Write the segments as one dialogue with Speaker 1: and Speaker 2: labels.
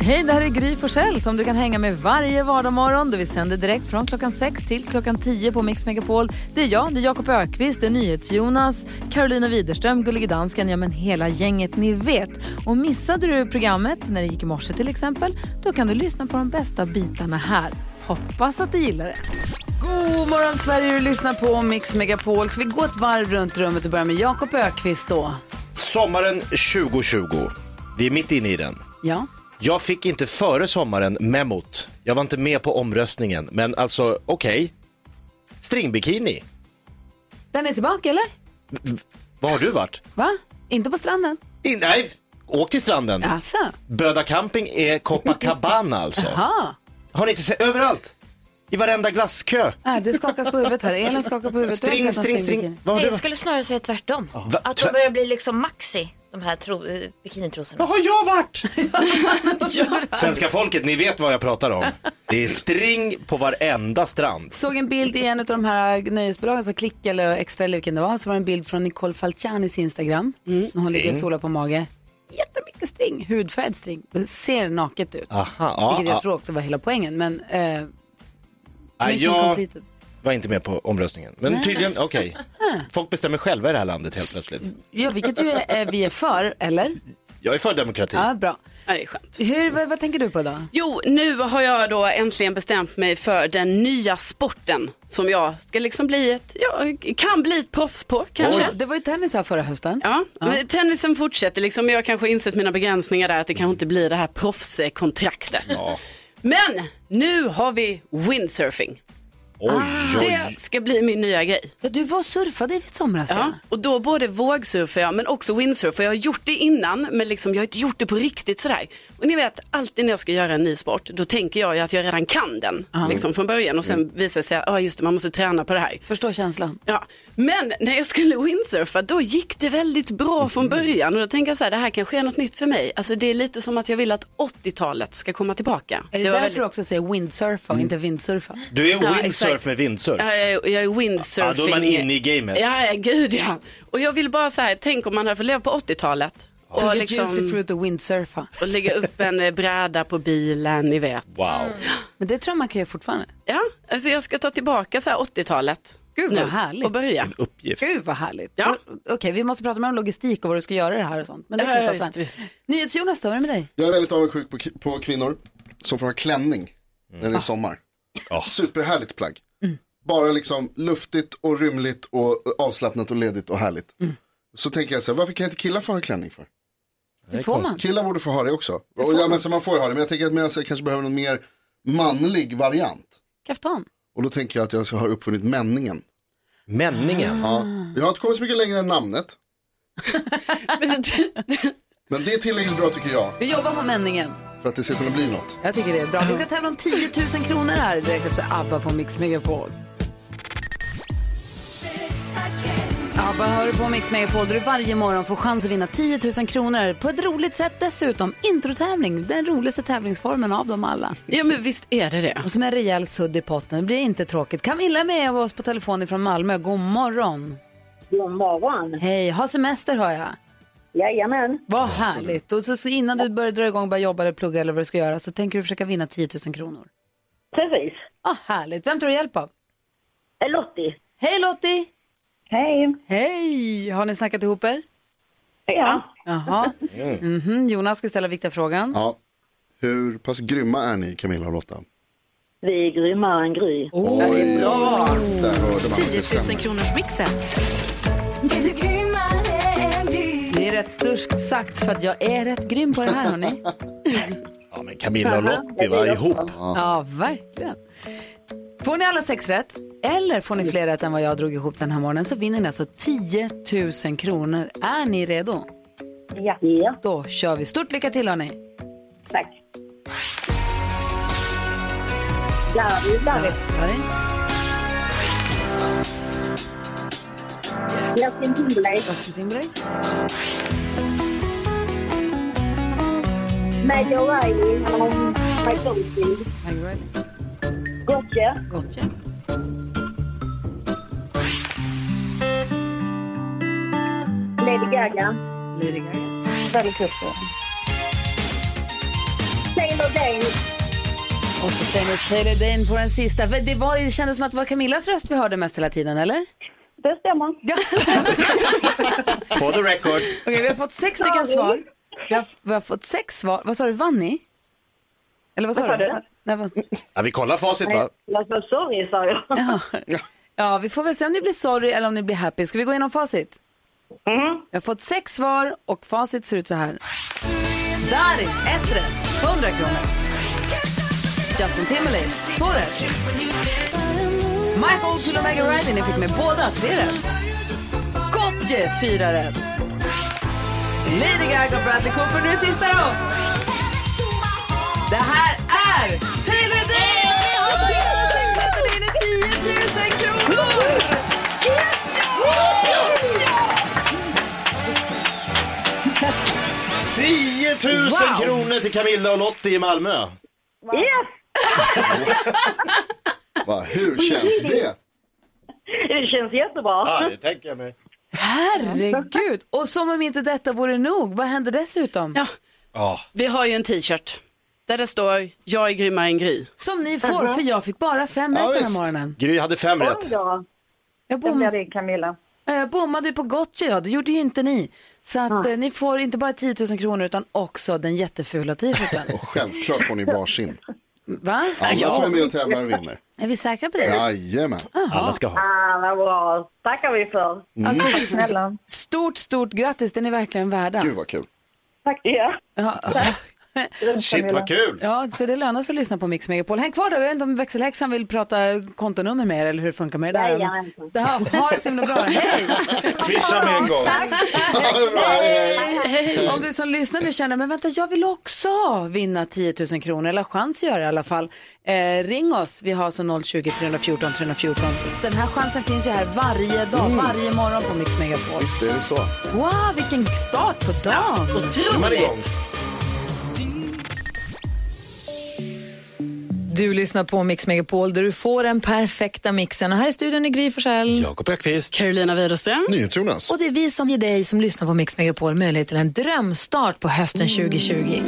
Speaker 1: Hej, det här är Gry Forssell som du kan hänga med varje vardagsmorgon. Vi sänder direkt från klockan 6 till klockan 10 på Mix Megapol. Det är jag, det är Jakob Ökvist, det är NyhetsJonas, Carolina Widerström, Gullige Dansken, ja men hela gänget ni vet. Och missade du programmet när det gick i morse till exempel, då kan du lyssna på de bästa bitarna här. Hoppas att du gillar det.
Speaker 2: God morgon Sverige, du lyssnar på Mix Megapol. Ska vi gå ett varv runt rummet och börja med Jakob Ökvist då?
Speaker 3: Sommaren 2020. Vi är mitt inne i den.
Speaker 2: Ja.
Speaker 3: Jag fick inte före sommaren memot. Jag var inte med på omröstningen, men alltså okej. Stringbikini.
Speaker 2: Den är tillbaka eller?
Speaker 3: Var har du varit?
Speaker 2: Va? Inte på stranden?
Speaker 3: In, nej, åk till stranden.
Speaker 2: Jaså?
Speaker 3: Böda camping är Copacabana alltså.
Speaker 2: Ja.
Speaker 3: Har ni inte sett? Överallt! I varenda glasskö.
Speaker 2: Ah, det skakas på huvudet här. Elin skakar på huvudet. Du har
Speaker 3: String,
Speaker 2: inte sett någon
Speaker 3: string, string.
Speaker 2: stringbikini.
Speaker 3: Vad har
Speaker 4: Nej,
Speaker 3: du
Speaker 4: jag
Speaker 3: varit?
Speaker 4: skulle snarare säga tvärtom.
Speaker 3: Va-
Speaker 4: Att
Speaker 3: tvär-
Speaker 4: de börjar bli liksom maxi, de här tro- eh, bikinitrosorna.
Speaker 3: Vad har jag varit? Svenska folket, ni vet vad jag pratar om. Det är string på varenda strand.
Speaker 2: Såg en bild i en av de här nöjesbolagen, så Klick eller Extra eller vilken det var, så var det en bild från Nicole Falcianis Instagram.
Speaker 3: Mm.
Speaker 2: Så hon ligger och solar på mage. Jättemycket string, hudfärgad string. Det ser naket ut.
Speaker 3: Aha, ja,
Speaker 2: Vilket jag
Speaker 3: ja.
Speaker 2: tror också var hela poängen. Men eh,
Speaker 3: Ja,
Speaker 2: mission
Speaker 3: Ah, jag
Speaker 2: completed.
Speaker 3: var inte med på omröstningen. Men tydligen, okej. Folk bestämmer själva i det här landet helt plötsligt.
Speaker 2: Ja, vilket ju är, är, vi är för, eller?
Speaker 3: Jag är för demokrati.
Speaker 2: Ja, bra.
Speaker 5: Ja, det är skönt.
Speaker 2: Hur, vad, vad tänker du på då?
Speaker 5: Jo, nu har jag då äntligen bestämt mig för den nya sporten som jag ska liksom bli ett, ja, kan bli ett proffs på kanske.
Speaker 2: Det var ju tennis här förra hösten.
Speaker 5: Ja, men tennisen fortsätter liksom. Jag har kanske insett mina begränsningar där att det kanske inte blir det här proffskontraktet. Men nu har vi windsurfing.
Speaker 3: Oj,
Speaker 5: Det ska bli min nya grej.
Speaker 2: Ja, du var och surfade i somras.
Speaker 5: Ja, och då både vågsurfar jag men också windsurfar. Jag har gjort det innan men liksom, jag har inte gjort det på riktigt sådär. Och ni vet alltid när jag ska göra en ny sport då tänker jag ju att jag redan kan den liksom, från början och sen visar det sig att ah, just det, man måste träna på det här.
Speaker 2: Mm. Förstår känslan.
Speaker 5: Ja. Men när jag skulle windsurfa då gick det väldigt bra från början och då tänker jag så här, det här kanske är något nytt för mig. Alltså det är lite som att jag vill att 80-talet ska komma tillbaka.
Speaker 2: Är det,
Speaker 5: var
Speaker 2: därför
Speaker 5: väldigt-
Speaker 2: du också säger windsurfa
Speaker 3: Mm.
Speaker 2: och inte vindsurfa?
Speaker 3: Du är
Speaker 5: Ja,
Speaker 3: windsurf
Speaker 5: exakt.
Speaker 3: med windsurf.
Speaker 5: Ja, jag, är- jag är windsurfing.
Speaker 3: Ja, då är man inne i gamet.
Speaker 5: Ja, ja, gud ja. Och jag vill bara så här, tänk om man hade fått leva på 80-talet.
Speaker 2: Och
Speaker 5: Och,
Speaker 2: juicy
Speaker 5: liksom,
Speaker 2: fruit och windsurfa.
Speaker 5: och lägga upp en eh, bräda på bilen, ni vet.
Speaker 3: Wow.
Speaker 2: Men det tror jag man kan göra fortfarande.
Speaker 5: Ja, alltså jag ska ta tillbaka så här 80-talet.
Speaker 2: Gud, vad
Speaker 5: nu
Speaker 2: härligt.
Speaker 5: Och börja.
Speaker 3: Uppgift.
Speaker 2: Gud vad härligt.
Speaker 5: Ja.
Speaker 2: Och- Okej, vi måste prata mer om logistik och vad du ska göra i det här och sånt. Men det kan vi
Speaker 5: Ja,
Speaker 2: ta
Speaker 5: ja,
Speaker 2: sen.
Speaker 5: visst,
Speaker 2: NyhetsJonas, då, hur är det med dig?
Speaker 6: Jag är väldigt avundsjuk på, ki- på kvinnor som får ha klänning när
Speaker 2: Mm. Ah.
Speaker 6: det är sommar. Superhärligt plagg. Bara liksom luftigt och rymligt och avslappnat och ledigt och härligt.
Speaker 2: Mm.
Speaker 6: Så tänker jag så här, varför kan inte killar få ha klänning för?
Speaker 2: Det får man.
Speaker 6: Killar borde få ha det också. och, ja, men, så man får ju ha det, men jag tänker att men jag kanske behöver någon mer manlig variant.
Speaker 2: Kaftan.
Speaker 6: Och då tänker jag att jag har uppfunnit männingen.
Speaker 3: Männingen.
Speaker 6: Ja, jag har inte kommit så mycket längre än namnet. Men det är tillräckligt bra tycker jag
Speaker 2: Vi jobbar på männingen.
Speaker 6: för att det ska kunna bli något.
Speaker 2: Jag tycker det är bra. Vi ska tävla om 10 000 kronor här direkt efter ABBA på Mix Megapol. ABBA hör du på Mix Megapol där du varje morgon får chans att vinna 10 000 kronor på ett roligt sätt dessutom. Introtävling, den roligaste tävlingsformen av dem alla.
Speaker 5: Ja, men visst är det det.
Speaker 2: Och som en rejäl sudd i potten, det blir inte tråkigt. Camilla är med oss på telefon ifrån Malmö, god morgon.
Speaker 7: God morgon.
Speaker 2: Hej, ha semester hör jag.
Speaker 7: Jajamän.
Speaker 2: Vad härligt. Och så, så innan du börjar dra igång, börja jobba eller plugga eller vad du ska göra så tänker du försöka vinna 10 000 kronor.
Speaker 7: Precis.
Speaker 2: Ah, härligt. Vem tror du hjälp av?
Speaker 7: Eh, Lottie.
Speaker 2: Hej Lottie!
Speaker 7: Hej.
Speaker 2: Hej! Har ni snackat ihop er?
Speaker 7: Ja.
Speaker 2: Jaha.
Speaker 7: Mm.
Speaker 2: Mhm, Jonas ska ställa viktiga frågan.
Speaker 6: Ja. Hur pass grymma är ni Camilla och Lotta?
Speaker 7: Vi är grymmare än Gry.
Speaker 6: Oj, bra. Där hörde man. det stämmer.
Speaker 1: kronors mixen.
Speaker 2: Det är rätt sturskt sagt för att jag är rätt grym på det här hörni.
Speaker 3: Ja, men Camilla och Lottie var ihop.
Speaker 2: Ja, verkligen. Får ni alla sex rätt eller får ni fler rätt än vad jag drog ihop den här morgonen så vinner ni alltså 10 000 kronor. Är ni redo?
Speaker 7: Ja. ja.
Speaker 2: Då kör vi. Stort lycka till hörni!
Speaker 7: Tack. Larry, Larry.
Speaker 2: Karin?
Speaker 7: Justin Timberlake.
Speaker 2: Justin Timberlake?
Speaker 7: Maggie O'Reilly. Um, My Boyfriend.
Speaker 2: Maggie Riley?
Speaker 7: Gotcha.
Speaker 2: Gotcha.
Speaker 7: Lady Gaga.
Speaker 2: Lady Gaga?
Speaker 7: Bradley Cooper. Taylor Taylor Dane.
Speaker 2: Och så slänger vi Taylor Dane på den sista. Det, var, det kändes som att det var Camillas röst vi hörde mest hela tiden, eller?
Speaker 7: Det stämmer.
Speaker 2: Ja.
Speaker 3: For the record.
Speaker 2: Okej, vi har fått sex stycken svar. Vi har, vi har fått sex svar. Vad sa du, vann ni? Eller vad sa
Speaker 7: Vad sa
Speaker 2: du?
Speaker 7: du?
Speaker 2: Nej, vad...
Speaker 3: Ja, vi kollar facit va?
Speaker 7: Alltså, sorry, sa jag.
Speaker 2: Ja, vi får väl se om ni blir sorry eller om ni blir happy. Ska vi gå igenom facit?
Speaker 7: Mm-hmm.
Speaker 2: Jag har fått sex svar och facit ser ut så här. Darin, ett rätt, 100 kronor. Justin Timberlake, två rätt. Mike Oldfield och Megan Riley, ni fick med båda, tre rätt. Gotje, fyra rätt. Lady Gaga och Bradley Cooper, nu är sista då. Det här är Taylor Day! Och så gör vi sex rätt och vinner 10 000 kronor! Ja!
Speaker 3: 10 000
Speaker 2: Wow.
Speaker 3: kronor till Camilla och Lottie i Malmö.
Speaker 7: Yes!
Speaker 6: Va, hur känns det?
Speaker 7: Det känns jättebra.
Speaker 3: Ja, det tänker jag mig.
Speaker 2: Herregud! Och som om inte detta vore nog, vad hände dessutom?
Speaker 5: Ja,
Speaker 3: Ja.
Speaker 5: vi har ju en t-shirt där det står jag är grymmare än Gry.
Speaker 2: Som ni får, för jag fick bara fem rätt den här
Speaker 6: visst.
Speaker 2: morgonen.
Speaker 3: Gry hade fem
Speaker 7: Oj
Speaker 3: rätt.
Speaker 7: då.
Speaker 2: Jag,
Speaker 7: Det blir
Speaker 2: bom-
Speaker 7: det, Camilla.
Speaker 2: eh, jag bommade ju på Gotcha, ja, det gjorde ju inte ni. Så att eh, ni får inte bara 10 000 kronor utan också den jättefula t-shirten.
Speaker 6: Och självklart får ni varsin.
Speaker 2: Va?
Speaker 6: Alla som är med och tävlar vinner.
Speaker 2: Är vi säkra på det?
Speaker 6: Jajamän.
Speaker 3: Alla ska ha.
Speaker 7: Ah, vad bra. tackar vi för.
Speaker 6: Mm.
Speaker 2: Alltså,
Speaker 7: Snälla.
Speaker 2: stort, stort grattis, den är verkligen värda.
Speaker 6: Gud vad kul.
Speaker 7: Tack. Ja.
Speaker 2: Ja,
Speaker 3: Shit vad kul.
Speaker 2: ja, så det lönar sig att lyssna på Mix Megapol. Häng kvar där, jag vet inte om växelhäxan vill prata kontonummer med er eller hur det funkar med det där.
Speaker 7: Jajamensan.
Speaker 2: Det här, ha det så himla bra, hej!
Speaker 3: Swisha med en gång.
Speaker 2: Om du som lyssnar nu känner, men vänta, jag vill också vinna 10 000 kronor, eller ha chans att göra det i alla fall. Eh, ring oss, vi har alltså 020 314 314. Den här chansen finns ju här varje dag,
Speaker 6: Mm.
Speaker 2: varje morgon på Mix Megapol.
Speaker 6: Visst är det så.
Speaker 2: Wow, vilken start på dagen!
Speaker 3: Man är igång.
Speaker 1: Du lyssnar på Mix Megapol där du får den perfekta mixen. Och här i studion är Gry Forssell.
Speaker 3: Jakob Ökvist.
Speaker 5: Carolina Widerström.
Speaker 6: NyhetsJonas.
Speaker 1: Och det är vi som ger dig som lyssnar på Mix Megapol möjlighet till en drömstart på
Speaker 2: Mm.
Speaker 1: hösten 2020.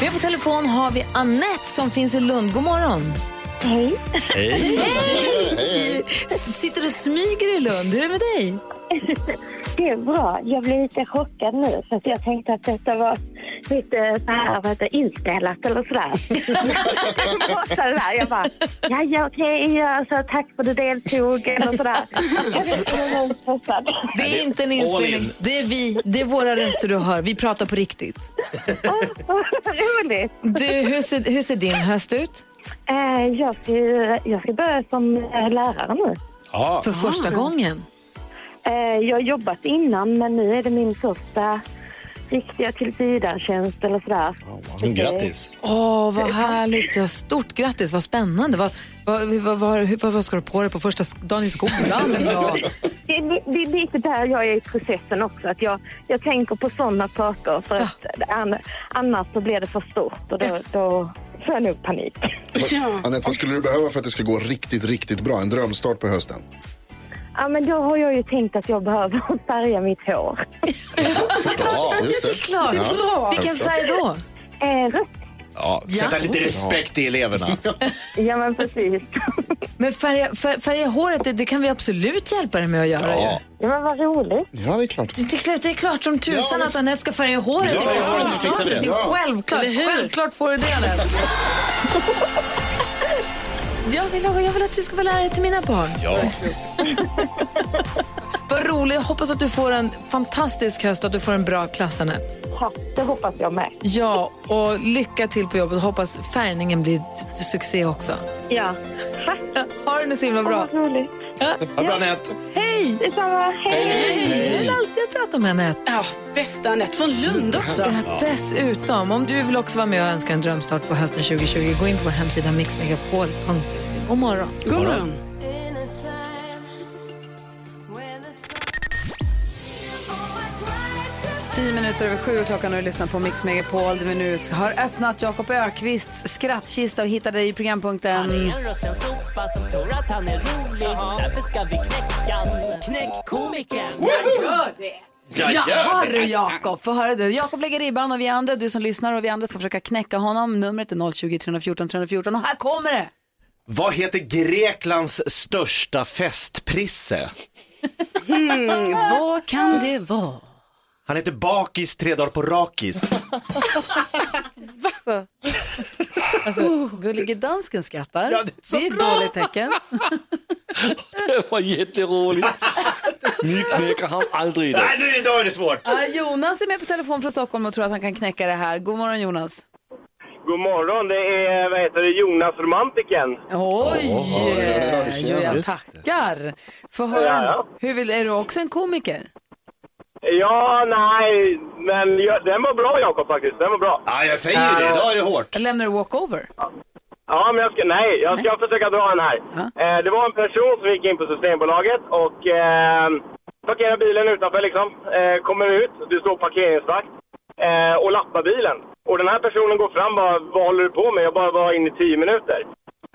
Speaker 1: Med på telefon har vi Annette som finns i Lund. God morgon! Hej! Sitter du och smyger i Lund? Hur är det med dig?
Speaker 7: Det är bra. Jag blev lite chockad nu för att jag tänkte att detta var lite så här, vad heter, det, inspelat eller sådär. jag kom på så där. Jag bara, ja, ja okej, ja, alltså, tack för att du deltog eller sådär. Jag vet inte, jag var stressad.
Speaker 1: Det är inte en
Speaker 3: all
Speaker 1: inspelning.
Speaker 3: in.
Speaker 1: Det är vi. Det är våra röster du hör. Vi pratar på riktigt.
Speaker 7: Vad roligt.
Speaker 1: Du, hur, ser, hur ser din höst ut?
Speaker 7: Eh, jag, ska, ju- jag ska börja som eh, lärare nu.
Speaker 3: Ja.
Speaker 1: För första gången.
Speaker 7: Eh, jag har jobbat innan men nu är det min första riktiga tillsvidaretjänst eller sådär.
Speaker 3: Grattis.
Speaker 1: Åh, vad härligt. Ja, stort grattis. Vad spännande. Vad, vad, vad, vad, vad, vad ska du på dig på första sk- dagen i skolan? Ja.
Speaker 7: Eh, Det, är li- det är lite där jag är i processen också. Att jag, jag tänker på sådana saker. För att an, annars så blir det för stort och då, då får jag nog panik.
Speaker 6: Anette, vad skulle du behöva för att det ska gå riktigt, riktigt bra? En drömstart på hösten.
Speaker 7: Ja, men då har jag ju tänkt att jag behöver färga mitt hår.
Speaker 6: Ja, just det.
Speaker 1: Klart.
Speaker 6: Ja.
Speaker 1: Vilken färg då?
Speaker 7: Eh, rött.
Speaker 3: Ja, sätta lite respekt i eleverna.
Speaker 7: Ja, men precis.
Speaker 1: Men färga, fär, färga håret, det, det kan vi absolut hjälpa dig med att göra. ju.
Speaker 3: Ja.
Speaker 7: Ja, men vad roligt.
Speaker 6: Ja, det är klart.
Speaker 1: Det är, klart, det är klart som tusan
Speaker 6: Ja,
Speaker 1: att
Speaker 6: visst.
Speaker 1: Anette ska färga håret.
Speaker 3: Ja,
Speaker 1: det, är
Speaker 3: ja,
Speaker 1: klart.
Speaker 3: visst fixar vi det.
Speaker 1: det är självklart.
Speaker 5: Eller hur?
Speaker 1: Självklart får du det Anette. jag, vill, jag vill att du ska vara lärare till mina barn.
Speaker 3: Ja.
Speaker 1: Vad roligt. Jag hoppas att du får en fantastisk höst och att du får en bra klass Anette.
Speaker 7: Tack, det hoppas jag med.
Speaker 1: Ja, och lycka till på jobbet. Hoppas färgningen blir ett succé också.
Speaker 7: Ja, tack.
Speaker 1: Ha det nu så himla bra.
Speaker 7: Vad roligt.
Speaker 3: Ha bra Anette.
Speaker 1: Hej!
Speaker 7: Detsamma. Hej.
Speaker 1: Hej! Jag vill alltid prata om Anette.
Speaker 5: Ja, bästa Anette från Lund också.
Speaker 1: Ja. Dessutom, om du vill också vara med och önska en drömstart på hösten 2020, gå in på vår hemsida mixmegapol.se. God morgon.
Speaker 5: God morgon.
Speaker 2: Tio minuter över sju klockan och du lyssnar på Mix Megapol där vi nu har öppnat Jakob Ökvists skrattkista och hittade dig i programpunkten.
Speaker 8: rutten sopa som tror att han är rolig. Därför ska vi knäcka han. Knäck komikern.
Speaker 2: Jaha du Jakob, få höra det. Jakob lägger ribban och vi andra, du som lyssnar och vi andra ska försöka knäcka honom. Numret är 020 314 314 och här kommer det!
Speaker 3: Vad heter Greklands största festprisse?
Speaker 5: Mm, vad kan det vara?
Speaker 3: Han heter Bakis tre dagar på rakis.
Speaker 2: Så. Alltså, gullige dansken skrattar.
Speaker 3: Oh. Ja, det är så
Speaker 2: det är ett
Speaker 3: bra.
Speaker 2: dåligt tecken.
Speaker 9: Det var jätteroligt. Ni knäcker han aldrig idag.
Speaker 3: Nej, nu idag är det svårt.
Speaker 2: Ja, Jonas är med på telefon från Stockholm och tror att han kan knäcka det här. God morgon Jonas.
Speaker 10: God morgon, det är vad heter det, Jonas Romantiken.
Speaker 2: Oj! jo, jag
Speaker 3: Just det.
Speaker 2: tackar. Få höra,
Speaker 10: Ja.
Speaker 2: hur vill, är du också en komiker?
Speaker 10: Ja, nej, men ja, den var bra Jakob faktiskt, den var bra.
Speaker 3: Ja, jag säger ju det, idag är det hårt.
Speaker 2: Jag lämnar du walkover?
Speaker 10: Ja, men jag ska, nej, jag ska försöka dra den här. Eh, det var en person som gick in på Systembolaget och eh, parkerade bilen utanför liksom. Eh, kommer ut, det står parkeringsvakt eh, och lappar bilen. Och den här personen går fram bara, vad håller du på med? Jag bara var inne i tio minuter.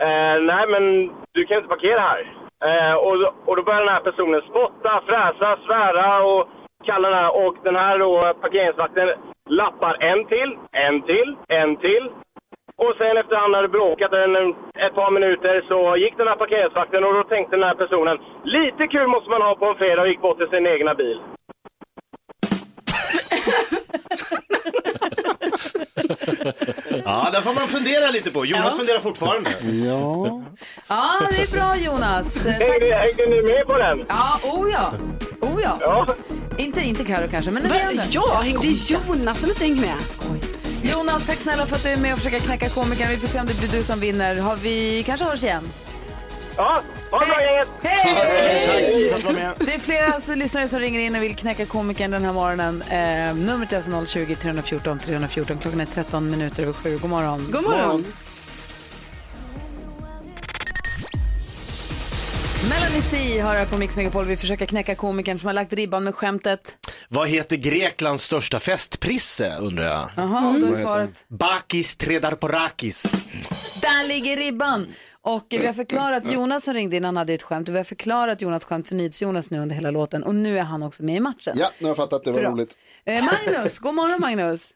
Speaker 10: Eh, nej, men du kan inte parkera här. Eh, och, och då börjar den här personen spotta, fräsa, svära och kalla den här. Och den här då, parkeringsvakten lappar en till, en till, en till. Och sen efter han hade bråkat en, en- ett par minuter så gick den här parkeringsvakten och då tänkte den här personen lite kul måste man ha på en fredag och gick bort till sin egna bil.
Speaker 3: Ja, där får man fundera lite på. Jonas funderar fortfarande.
Speaker 6: Ja.
Speaker 2: Ja, det är bra Jonas. Eh, Tack.
Speaker 10: Hängde, hängde ni med på den?
Speaker 2: Ja, oh ja. Oh ja.
Speaker 10: Ja.
Speaker 2: Inte, inte Karo kanske, men vi andra.
Speaker 5: Ja, hängde Jonas som inte hängde med?
Speaker 2: Jonas, tack snälla för att du är med och försöker knäcka komikern. Vi får se om det blir du som vinner. Har vi kanske hörs igen?
Speaker 10: Ja, ha det bra gänget!
Speaker 2: Hej! Det är flera alltså, lyssnare som ringer in och vill knäcka komikern den här morgonen. Eh, numret är alltså 020-314 314. Klockan är 13 minuter över sju. God morgon.
Speaker 5: God morgon.
Speaker 2: Melanie C hör här på Mix Megapol. Vi försöker knäcka komikern som har lagt ribban med skämtet.
Speaker 3: Vad heter Greklands största festprisse, undrar jag?
Speaker 2: Jaha, och
Speaker 9: Mm.
Speaker 2: då är svaret.
Speaker 3: Bakis tre dagar på rakis.
Speaker 2: Där ligger ribban. Och vi har förklarat, Jonas som ringde in, han hade ju ett skämt. Och vi har förklarat Jonas skämt för NyhetsJonas nu under hela låten. Och nu är han också med i matchen.
Speaker 6: ja, nu har jag fattat. Det var
Speaker 2: Bra.
Speaker 6: roligt.
Speaker 2: Eh, Magnus, god morgon Magnus.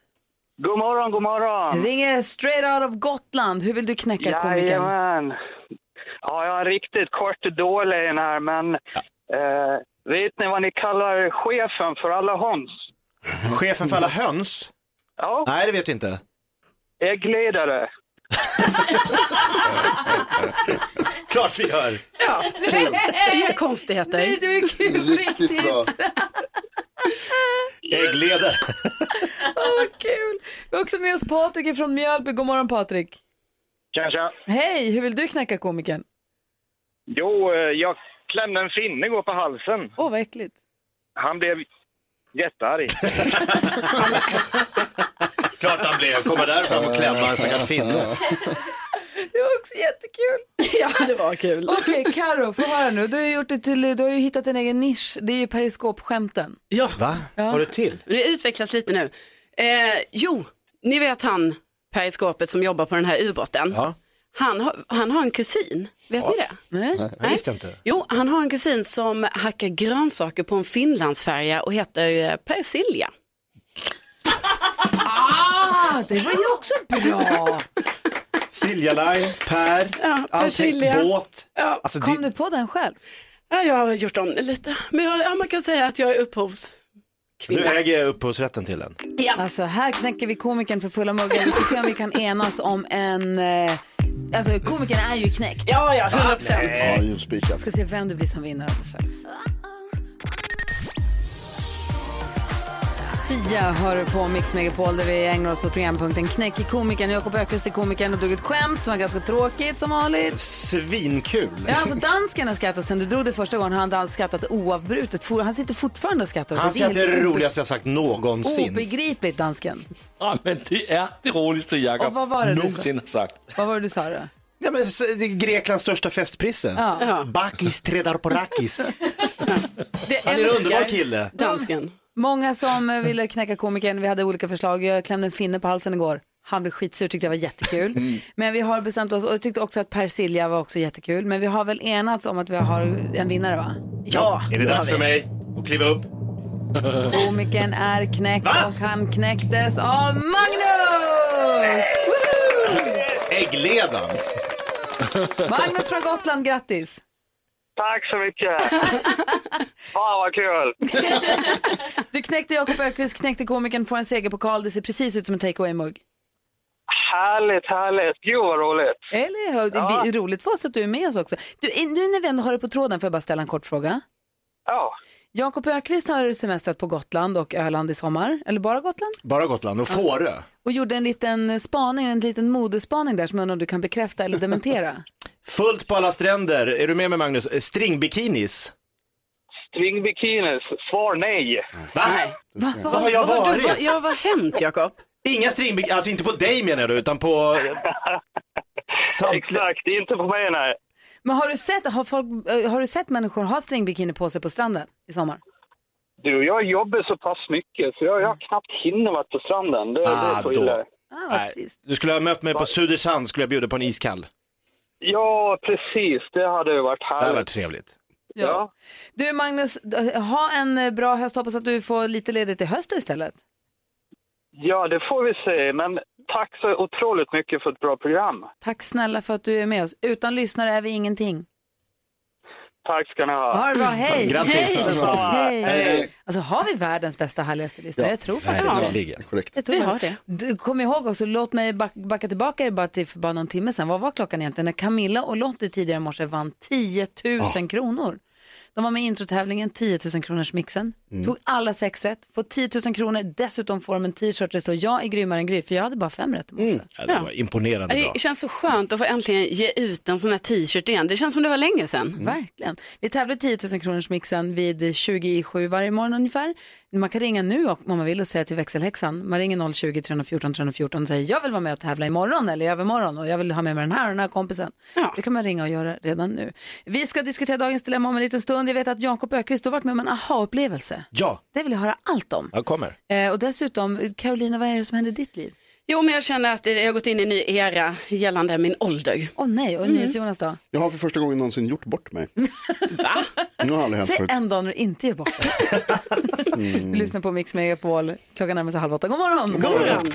Speaker 10: God morgon, god morgon!
Speaker 2: Ringer straight out of Gotland. Hur vill du knäcka komikern?
Speaker 10: Jajamän! Ja, jag är riktigt kort och dålig i den här, men eh, vet ni vad ni kallar chefen för alla höns?
Speaker 3: Chefen för alla höns?
Speaker 10: Ja,
Speaker 3: Nej, det vet vi inte.
Speaker 10: äggledare.
Speaker 3: Klart vi gör.
Speaker 5: Inga konstigheter.
Speaker 2: Nej, du är kul
Speaker 6: Riktigt
Speaker 2: riktigt.
Speaker 6: bra.
Speaker 3: Äggledare.
Speaker 2: Vad kul. Vi har också med oss Patrik från Mjölby. God morgon Patrik.
Speaker 10: Kanske.
Speaker 2: Hej, hur vill du knäcka komikern?
Speaker 10: Jo, eh, jag klämde en finne igår på halsen.
Speaker 2: Åh, vad äckligt.
Speaker 10: Han blev jättearg.
Speaker 3: Klart han blev. Kommer därifrån och klämma en stackars finne.
Speaker 2: Det var också jättekul.
Speaker 5: Ja, det var kul.
Speaker 2: Okej, Karo, få höra nu. Du har, ju gjort det till, du har ju hittat en egen nisch. Det är ju periskopskämten.
Speaker 5: Ja.
Speaker 3: Va? Har du till?
Speaker 5: Det utvecklas lite nu. Eh, jo, ni vet han periskopet som jobbar på den här ubåten.
Speaker 3: Ja.
Speaker 5: Han, har, han har en kusin, vet ni det?
Speaker 2: Nej?
Speaker 3: Jag visste inte.
Speaker 5: Jo, han har en kusin som hackar grönsaker på en finlandsfärja och heter eh, persilja.
Speaker 2: Ah, det var ju också bra.
Speaker 3: Silja Line, Per,
Speaker 5: Ja,
Speaker 3: allting,
Speaker 5: Persilja.
Speaker 3: båt.
Speaker 5: Ja.
Speaker 3: Alltså,
Speaker 2: Kom
Speaker 3: det,
Speaker 2: du på den själv?
Speaker 5: Ja, jag har gjort om det lite, men jag, ja, man kan säga att jag är upphovs...
Speaker 3: du äger upphovsrätten till den.
Speaker 2: Alltså här knäcker vi komikern för fulla muggar. Vi får se om vi kan enas om en... Eh, alltså komikern är ju knäckt. Vi
Speaker 5: Ja, ja, 100 procent.
Speaker 6: Ja, ljusspikat.
Speaker 2: ska se vem det blir som vinner alldeles strax. Sia hör du på Mix Megapol där vi ägnar oss åt programpunkten Knäck i komikern. Jakob Öqvist är komikern och drog ett skämt som var ganska tråkigt som vanligt.
Speaker 3: Svinkul.
Speaker 2: Ja, alltså dansken har skrattat sen du drog det första gången. Han har han skrattat oavbrutet. For- Han sitter fortfarande och skrattar. åt
Speaker 3: Han
Speaker 2: Det är
Speaker 3: säger att det är
Speaker 2: helt
Speaker 3: det
Speaker 2: obe-
Speaker 3: roligaste jag sagt någonsin.
Speaker 2: Obegripligt dansken.
Speaker 9: Ja, men det är det roligaste
Speaker 2: Och
Speaker 9: Jakob
Speaker 2: vad var det du sa?
Speaker 9: någonsin har sagt.
Speaker 2: Vad var det du sa då?
Speaker 3: Ja, men, s- det är Greklands största festprisse.
Speaker 2: Ja.
Speaker 3: Bakis tredar på rakis.
Speaker 5: Det
Speaker 3: Han är en underbar kille.
Speaker 5: Dansken.
Speaker 2: Många som eh, ville knäcka komikern, vi hade olika förslag. Jag klämde en finne på halsen igår. Han blev skitsur, tyckte jag var jättekul.
Speaker 6: Mm.
Speaker 2: Men vi har bestämt oss, och jag tyckte också att Per Silja var också jättekul. Men vi har väl enats om att vi har en vinnare va?
Speaker 3: Ja, Är det dags för mig att kliva upp?
Speaker 2: Komikern är knäckt och han knäcktes av Magnus!
Speaker 3: Äggledan.
Speaker 2: Magnus från Gotland, grattis!
Speaker 11: Tack så mycket! Fan vad kul!
Speaker 2: Du knäckte Jakob Ökvist, knäckte komikern, får en segerpokal. Det ser precis ut som en takeaway-mugg.
Speaker 11: Härligt, härligt! Gud vad roligt!
Speaker 2: Eller hur? Det är roligt för oss att du är med oss också. Du, i- nu när vi ändå har dig på tråden får jag bara ställa en kort fråga.
Speaker 11: Ja.
Speaker 2: Jakob Ökvist har semestrat på Gotland och Öland i sommar, eller bara Gotland,
Speaker 3: Bara Gotland och Fårö.
Speaker 2: och gjorde en liten spaning, en liten modespaning där som jag undrar om du kan bekräfta eller dementera.
Speaker 3: Fullt på alla stränder. Är du med mig Magnus? Eh, Stringbikinis.
Speaker 11: Stringbikinis, svar nej.
Speaker 3: Nej.
Speaker 5: Va,
Speaker 3: Vad har jag
Speaker 5: vad-
Speaker 3: varit?
Speaker 5: vad- Ja, vad har hänt Jakob?
Speaker 3: Inga stringbikinis, alltså inte på dig menar jag då, utan på...
Speaker 11: Exakt, inte på mig nej.
Speaker 2: Men har du sett, har folk, eh, har du sett människor ha stringbikini på sig på stranden i sommar?
Speaker 11: Du, jag jobbar så pass mycket så jag, jag knappt hinner vara på stranden. Det, det är så
Speaker 3: då.
Speaker 11: illa.
Speaker 2: Ah,
Speaker 3: vad trist. Du skulle ha mött mig på Sudersand, skulle jag bjuda på en iskall.
Speaker 11: Ja, precis. Det hade ju varit
Speaker 3: Det hade
Speaker 11: härligt.
Speaker 3: varit trevligt.
Speaker 2: Ja. Du Magnus, d- ha en eh, bra höst, hoppas att du får lite ledigt i höst istället.
Speaker 11: Ja, det får vi se. Men tack så otroligt mycket för ett bra program.
Speaker 2: Tack snälla för att du är med oss. Utan lyssnare är vi ingenting.
Speaker 11: Tack ska ni ha.
Speaker 2: Ha det bra, hej!
Speaker 11: Grattis!
Speaker 2: Hej. Hej.
Speaker 11: Hej.
Speaker 2: Alltså har vi världens bästa härligaste lista? Jag tror faktiskt
Speaker 3: det.
Speaker 6: Korrekt.
Speaker 2: Jag tror vi har det. Du, kom ihåg också, låt mig back, backa tillbaka er bara till för bara någon timme sedan. Vad var klockan egentligen? När Camilla och Lottie tidigare i morse vann 10 000
Speaker 3: Ah.
Speaker 2: kronor. De var med i introtävlingen 10 000 kronors mixen.
Speaker 1: Mm.
Speaker 2: Tog alla sex rätt, får 10 000 kronor. Dessutom får de en t-shirt där det står jag är grymmare än Gry, för jag hade bara fem rätt i morse.
Speaker 3: Mm. Ja, det var imponerande bra.
Speaker 5: Det känns så skönt att få äntligen ge ut en sån här t-shirt igen. Det känns som det var länge sedan.
Speaker 2: Verkligen. Vi tävlar 10 000 kronors mixen vid 20 i 7 varje morgon ungefär. Man kan ringa nu och- om man vill och säga till växelhäxan. Man ringer 020 314 314 och säger jag vill vara med och tävla imorgon eller i övermorgon och jag vill ha med mig den här och den här kompisen. Det kan man ringa och göra redan nu. Vi ska diskutera dagens dilemma om en liten stund. Jag vet att Jakob Ökvist har varit med om en aha-upplevelse.
Speaker 3: Ja,
Speaker 2: Det vill jag höra allt om.
Speaker 3: jag kommer.
Speaker 2: Eh, och dessutom, Carolina, vad är det som händer i ditt liv?
Speaker 5: Jo, men jag känner att jag har gått in i en ny era gällande min ålder.
Speaker 2: Åh nej, och
Speaker 5: Mm.
Speaker 2: NyhetsJonas då?
Speaker 6: Jag har för första gången någonsin gjort bort mig. Va? Nu har det aldrig hänt
Speaker 2: Säg
Speaker 6: förut. Mm.
Speaker 2: en dag när du inte är borta. Du lyssnar på Mix Megapol. Klockan närmar sig halv åtta. God morgon!
Speaker 6: God morgon.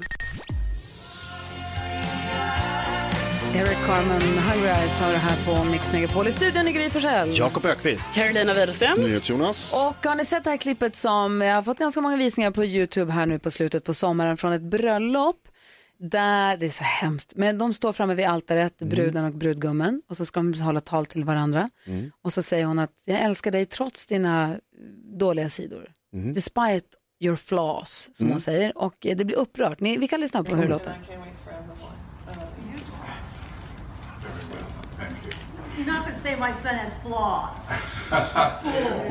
Speaker 2: Eric Carmen, Hungry Eyes har det här på Mix Megapol. I studion i Gry Forssell.
Speaker 3: Jakob Ökvist.
Speaker 5: Carolina Widerström.
Speaker 6: NyhetsJonas.
Speaker 2: Och har ni sett det här klippet som jag har fått ganska många visningar på YouTube här nu på slutet på sommaren från ett bröllop. Där, det är så hemskt, men de står framme vid altaret,
Speaker 6: Mm.
Speaker 2: bruden och brudgummen, och så ska de hålla tal till varandra.
Speaker 1: Mm.
Speaker 2: Och så säger hon att jag älskar dig trots dina dåliga sidor.
Speaker 6: Mhm.
Speaker 1: Mm.
Speaker 2: Despite your flaws, som
Speaker 1: Mm.
Speaker 2: hon säger. Och eh, det blir upprört. Ni, vi kan lyssna på hur det låter.
Speaker 12: You're not gonna say my son has flaws.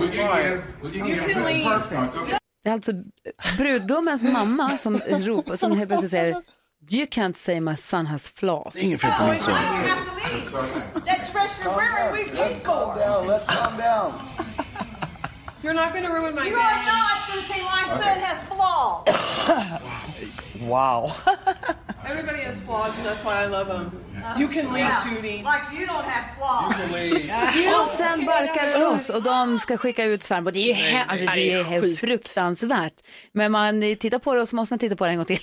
Speaker 13: We can give, we can
Speaker 12: You
Speaker 13: give
Speaker 12: can
Speaker 13: Mrs.
Speaker 12: leave.
Speaker 13: Perfect. Okay.
Speaker 2: Det är alltså brudgummens mamma som ropar, som helt plötsligt säger You can't say my son has flaws.
Speaker 6: Det är inget fel på min son.
Speaker 12: Oh, That freshman wearing we pissed for.
Speaker 6: Let's calm down.
Speaker 12: You're not gonna ruin my You are not gonna say my son has flaws.
Speaker 14: Wow.
Speaker 12: Everybody has flaws, and that's why I love them.
Speaker 14: You can leave,
Speaker 12: Judy. Uh, Like you don't have flaws.
Speaker 2: Och sen barkar det loss och de ska skicka ut svärmor. Det är ju, he- alltså, det är ju he- fruktansvärt. Men man eh, tittar på det och så måste man titta på det en gång till.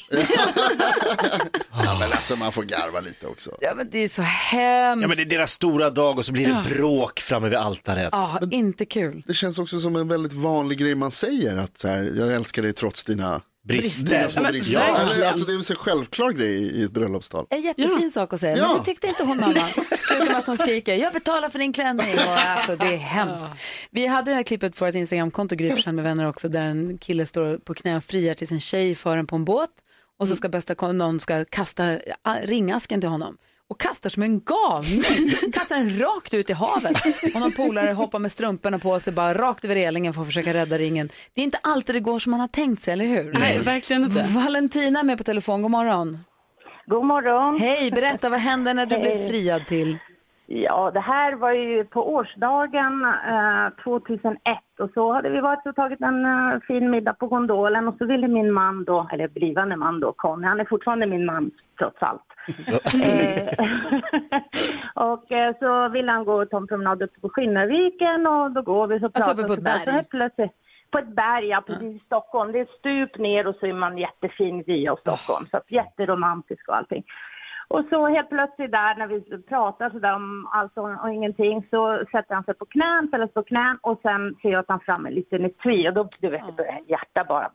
Speaker 6: Ja, men alltså man får garva lite också.
Speaker 2: Ja, men det är så hemskt.
Speaker 3: Ja, men det är deras stora dag och så blir det
Speaker 2: Ja.
Speaker 3: bråk framme vid altaret.
Speaker 2: Ja, inte kul.
Speaker 6: Det känns också som en väldigt vanlig grej man säger att så här, jag älskar dig trots dina
Speaker 3: Brister.
Speaker 6: Dina små
Speaker 3: Men-
Speaker 6: brister.
Speaker 3: Ja. Eh.
Speaker 6: Eller, Alltså, det är väl en självklar grej i ett bröllopstal.
Speaker 2: En jättefin sak att säga, men
Speaker 6: Ja.
Speaker 2: det tyckte inte hon mamma. Slutar med att hon skriker, jag betalar för din klänning. Och alltså, det är hemskt. Vi hade det här klippet på vårt Instagramkonto, Gry Forssell med vänner också, där en kille står på knä och friar till sin tjej för en på en båt. Och
Speaker 5: Mm.
Speaker 2: så ska bästa kom- någon ska kasta ah, ringasken till honom. Och kastar som en galning, kastar den rakt ut i havet. Och någon polare hoppar med strumporna på sig, bara rakt över relingen för att försöka rädda ringen. Det är inte alltid det går som man har tänkt sig, eller hur?
Speaker 5: Nej, verkligen inte.
Speaker 2: Valentina är med på telefon, god morgon.
Speaker 15: God morgon.
Speaker 2: Hej, berätta vad hände när du
Speaker 15: Hej.
Speaker 2: blev friad till?
Speaker 14: Ja, det här var ju på årsdagen eh, 2001 och så hade vi varit och tagit en eh, fin middag på Gondolen och så ville min man då, eller blivande man då, Conny, han är fortfarande min man trots allt. eh, och eh, så ville han gå och ta en promenad upp på Skinnarviken och då går vi så pratar
Speaker 2: Alltså uppe på ett
Speaker 14: och så där. Så
Speaker 2: berg?
Speaker 14: helt plötsligt, på ett berg, ja, precis i Stockholm. Det är ett stup ner och så är man jättefin vy av Stockholm, så att jätteromantisk och allting. Och så helt plötsligt där när vi pratar så där om allt och, och ingenting så sätter han sig på knän, ställer sig på knän och sen ser jag att han fram en liten etui och då du vet, det börjar hjärta bara.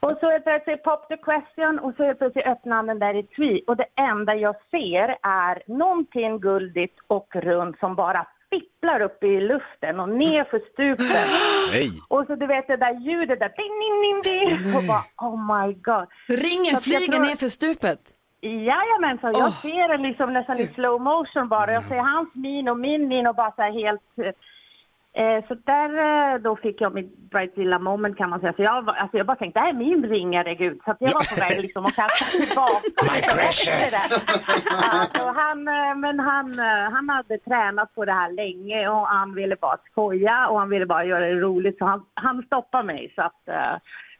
Speaker 14: Och så helt plötsligt pop the question och så helt plötsligt öppnar han den där etui och det enda jag ser är någonting guldigt och runt som bara fipplar upp i luften och ner för stupen.
Speaker 3: Nej.
Speaker 14: Och så du vet det där ljudet där, ding, ding, ding, ding. Och bara, oh my god.
Speaker 2: Ringen
Speaker 14: Så att jag
Speaker 2: flyger ner för stupet.
Speaker 14: Jajamensan,
Speaker 2: Åh.
Speaker 14: jag ser den liksom nästan i slow motion bara. Jag ser hans min och min min och bara så här helt... Eh, så där eh, då fick jag mitt bright lilla moment kan man säga. Så jag, var- alltså jag bara tänkte, det här är min ring, herregud. Så att jag var på väg liksom att kasta tillbaka.
Speaker 7: My precious.
Speaker 14: Alltså, han, eh, men han, eh, han hade tränat på det här länge och han ville bara skoja och han ville bara göra det roligt så han, han stoppade mig. Så, att, eh,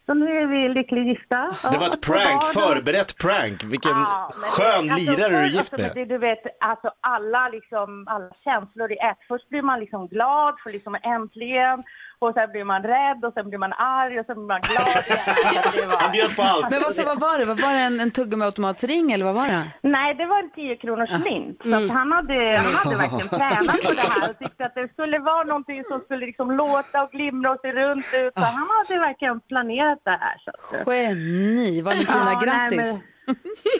Speaker 14: så nu är vi lyckligt gifta.
Speaker 3: Det var ett prank, förberett prank. Vilken skön
Speaker 14: Alltså,
Speaker 3: lirare du är
Speaker 14: först,
Speaker 3: gift
Speaker 14: alltså,
Speaker 3: med.
Speaker 14: men det- Du vet, alltså alla, liksom, alla känslor i ett. Först blir man liksom glad för liksom äntligen. Och sen blir man rädd och sen blir man arg och sen blir man glad igen. Det var-
Speaker 3: Han bjöd på allt.
Speaker 2: Men vad, så, vad var det? Vad var det en, en tuggummiautomatsring eller vad var det? Ah. Mm.
Speaker 14: Nej, det var en 10 kronors mynt. Så att han, hade, han hade verkligen tränat på det här och tyckte att det skulle vara någonting som skulle liksom låta och glimra och se runt ut. Så han hade verkligen planerat det här. Så att,
Speaker 2: Geni, Valentina,
Speaker 14: Ja, nej,
Speaker 2: grattis.
Speaker 14: men-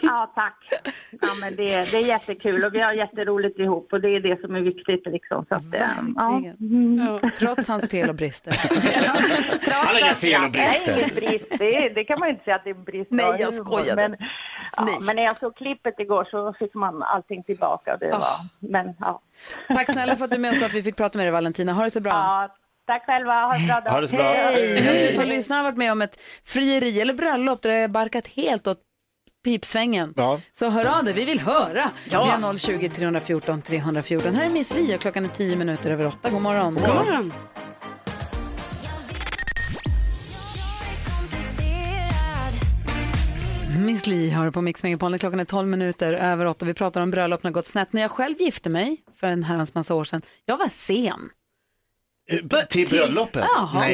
Speaker 14: ja, tack. Ja, men det, det är jättekul och vi har jätteroligt ihop och det är det som är viktigt. Liksom, så att, eh, ja.
Speaker 2: Trots hans fel och brister.
Speaker 3: Han har inga fel och
Speaker 14: Det är
Speaker 3: brister.
Speaker 14: ingen brist, det, är, det kan man ju inte säga att det är en brist.
Speaker 2: Nej,
Speaker 14: av
Speaker 2: jag
Speaker 14: humor,
Speaker 2: skojade.
Speaker 14: Men,
Speaker 2: Nej.
Speaker 14: ja, men när jag såg klippet igår så fick man allting tillbaka. och Det
Speaker 2: Ja.
Speaker 14: var, men, ja.
Speaker 2: Tack snälla för att du med oss och att vi fick prata med dig Valentina. Ha det så bra.
Speaker 14: Ja, tack själva, ha en bra dag.
Speaker 2: Ha det så bra. Hej! Om du som lyssnar har varit med om ett frieri eller bröllop där det har barkat helt åt pipsvängen. Så hör av dig, vi vill höra.
Speaker 5: Ja.
Speaker 2: Vi har 020 314 314. Här är Miss Li och klockan är 10 minuter över 8. God morgon.
Speaker 5: God morgon.
Speaker 2: Miss Li hör på Mix Megapol. Klockan är 12 minuter över 8. Vi pratar om bröllop när det har gått snett. När jag själv gifte mig för en herrans massa år sedan, jag var sen.
Speaker 3: Eh, Till bröllopet?
Speaker 2: Jaha,